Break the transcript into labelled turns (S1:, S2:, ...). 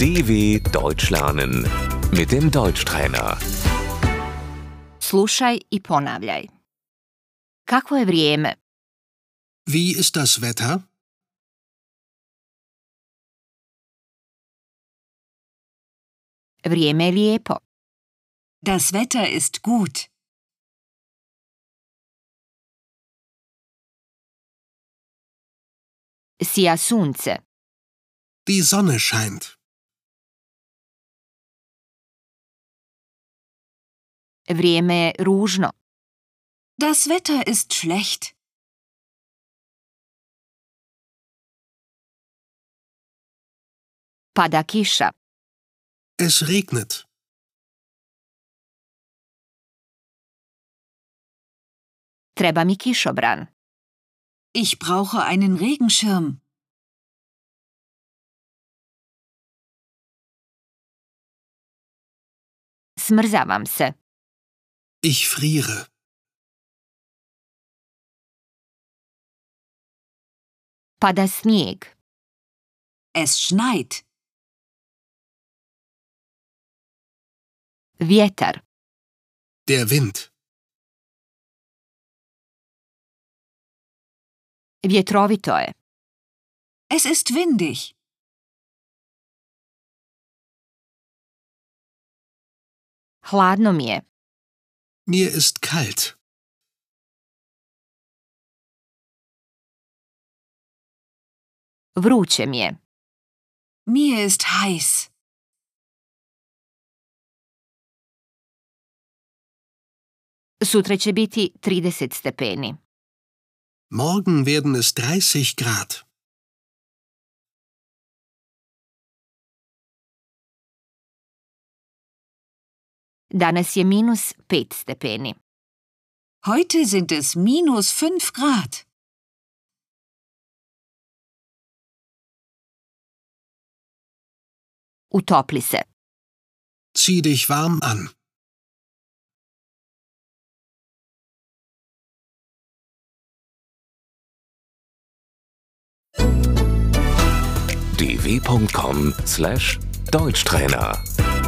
S1: DW Deutsch lernen mit dem Deutschtrainer.
S2: Slušaj i ponavljaj. Kako je vrijeme?
S3: Wie ist das Wetter?
S2: Vrijeme je lijepo.
S4: Das Wetter ist gut.
S2: Sija sunce.
S3: Die Sonne scheint.
S2: Vrijeme je ružno.
S4: Das Wetter ist schlecht.
S2: Pada kiša.
S3: Es regnet.
S2: Treba mi kišobran.
S4: Ich brauche einen Regenschirm.
S2: Smrzavam se.
S3: Ich friere.
S2: Pada snijeg.
S4: Es schneit.
S2: Vjetar.
S3: Der Wind.
S2: Vjetrovito je.
S4: Es ist windig.
S2: Hladno mi je.
S3: Mir ist kalt.
S2: Vruće mi je.
S4: Mir ist heiß.
S2: Sutra će biti 30 stepeni.
S3: Morgen werden es 30 Grad.
S2: Danas je minus 5 stepeni.
S4: Heute sind es minus 5 Grad.
S2: Utopli se.
S3: Zieh dich warm an.
S1: dw.com/deutschtrainer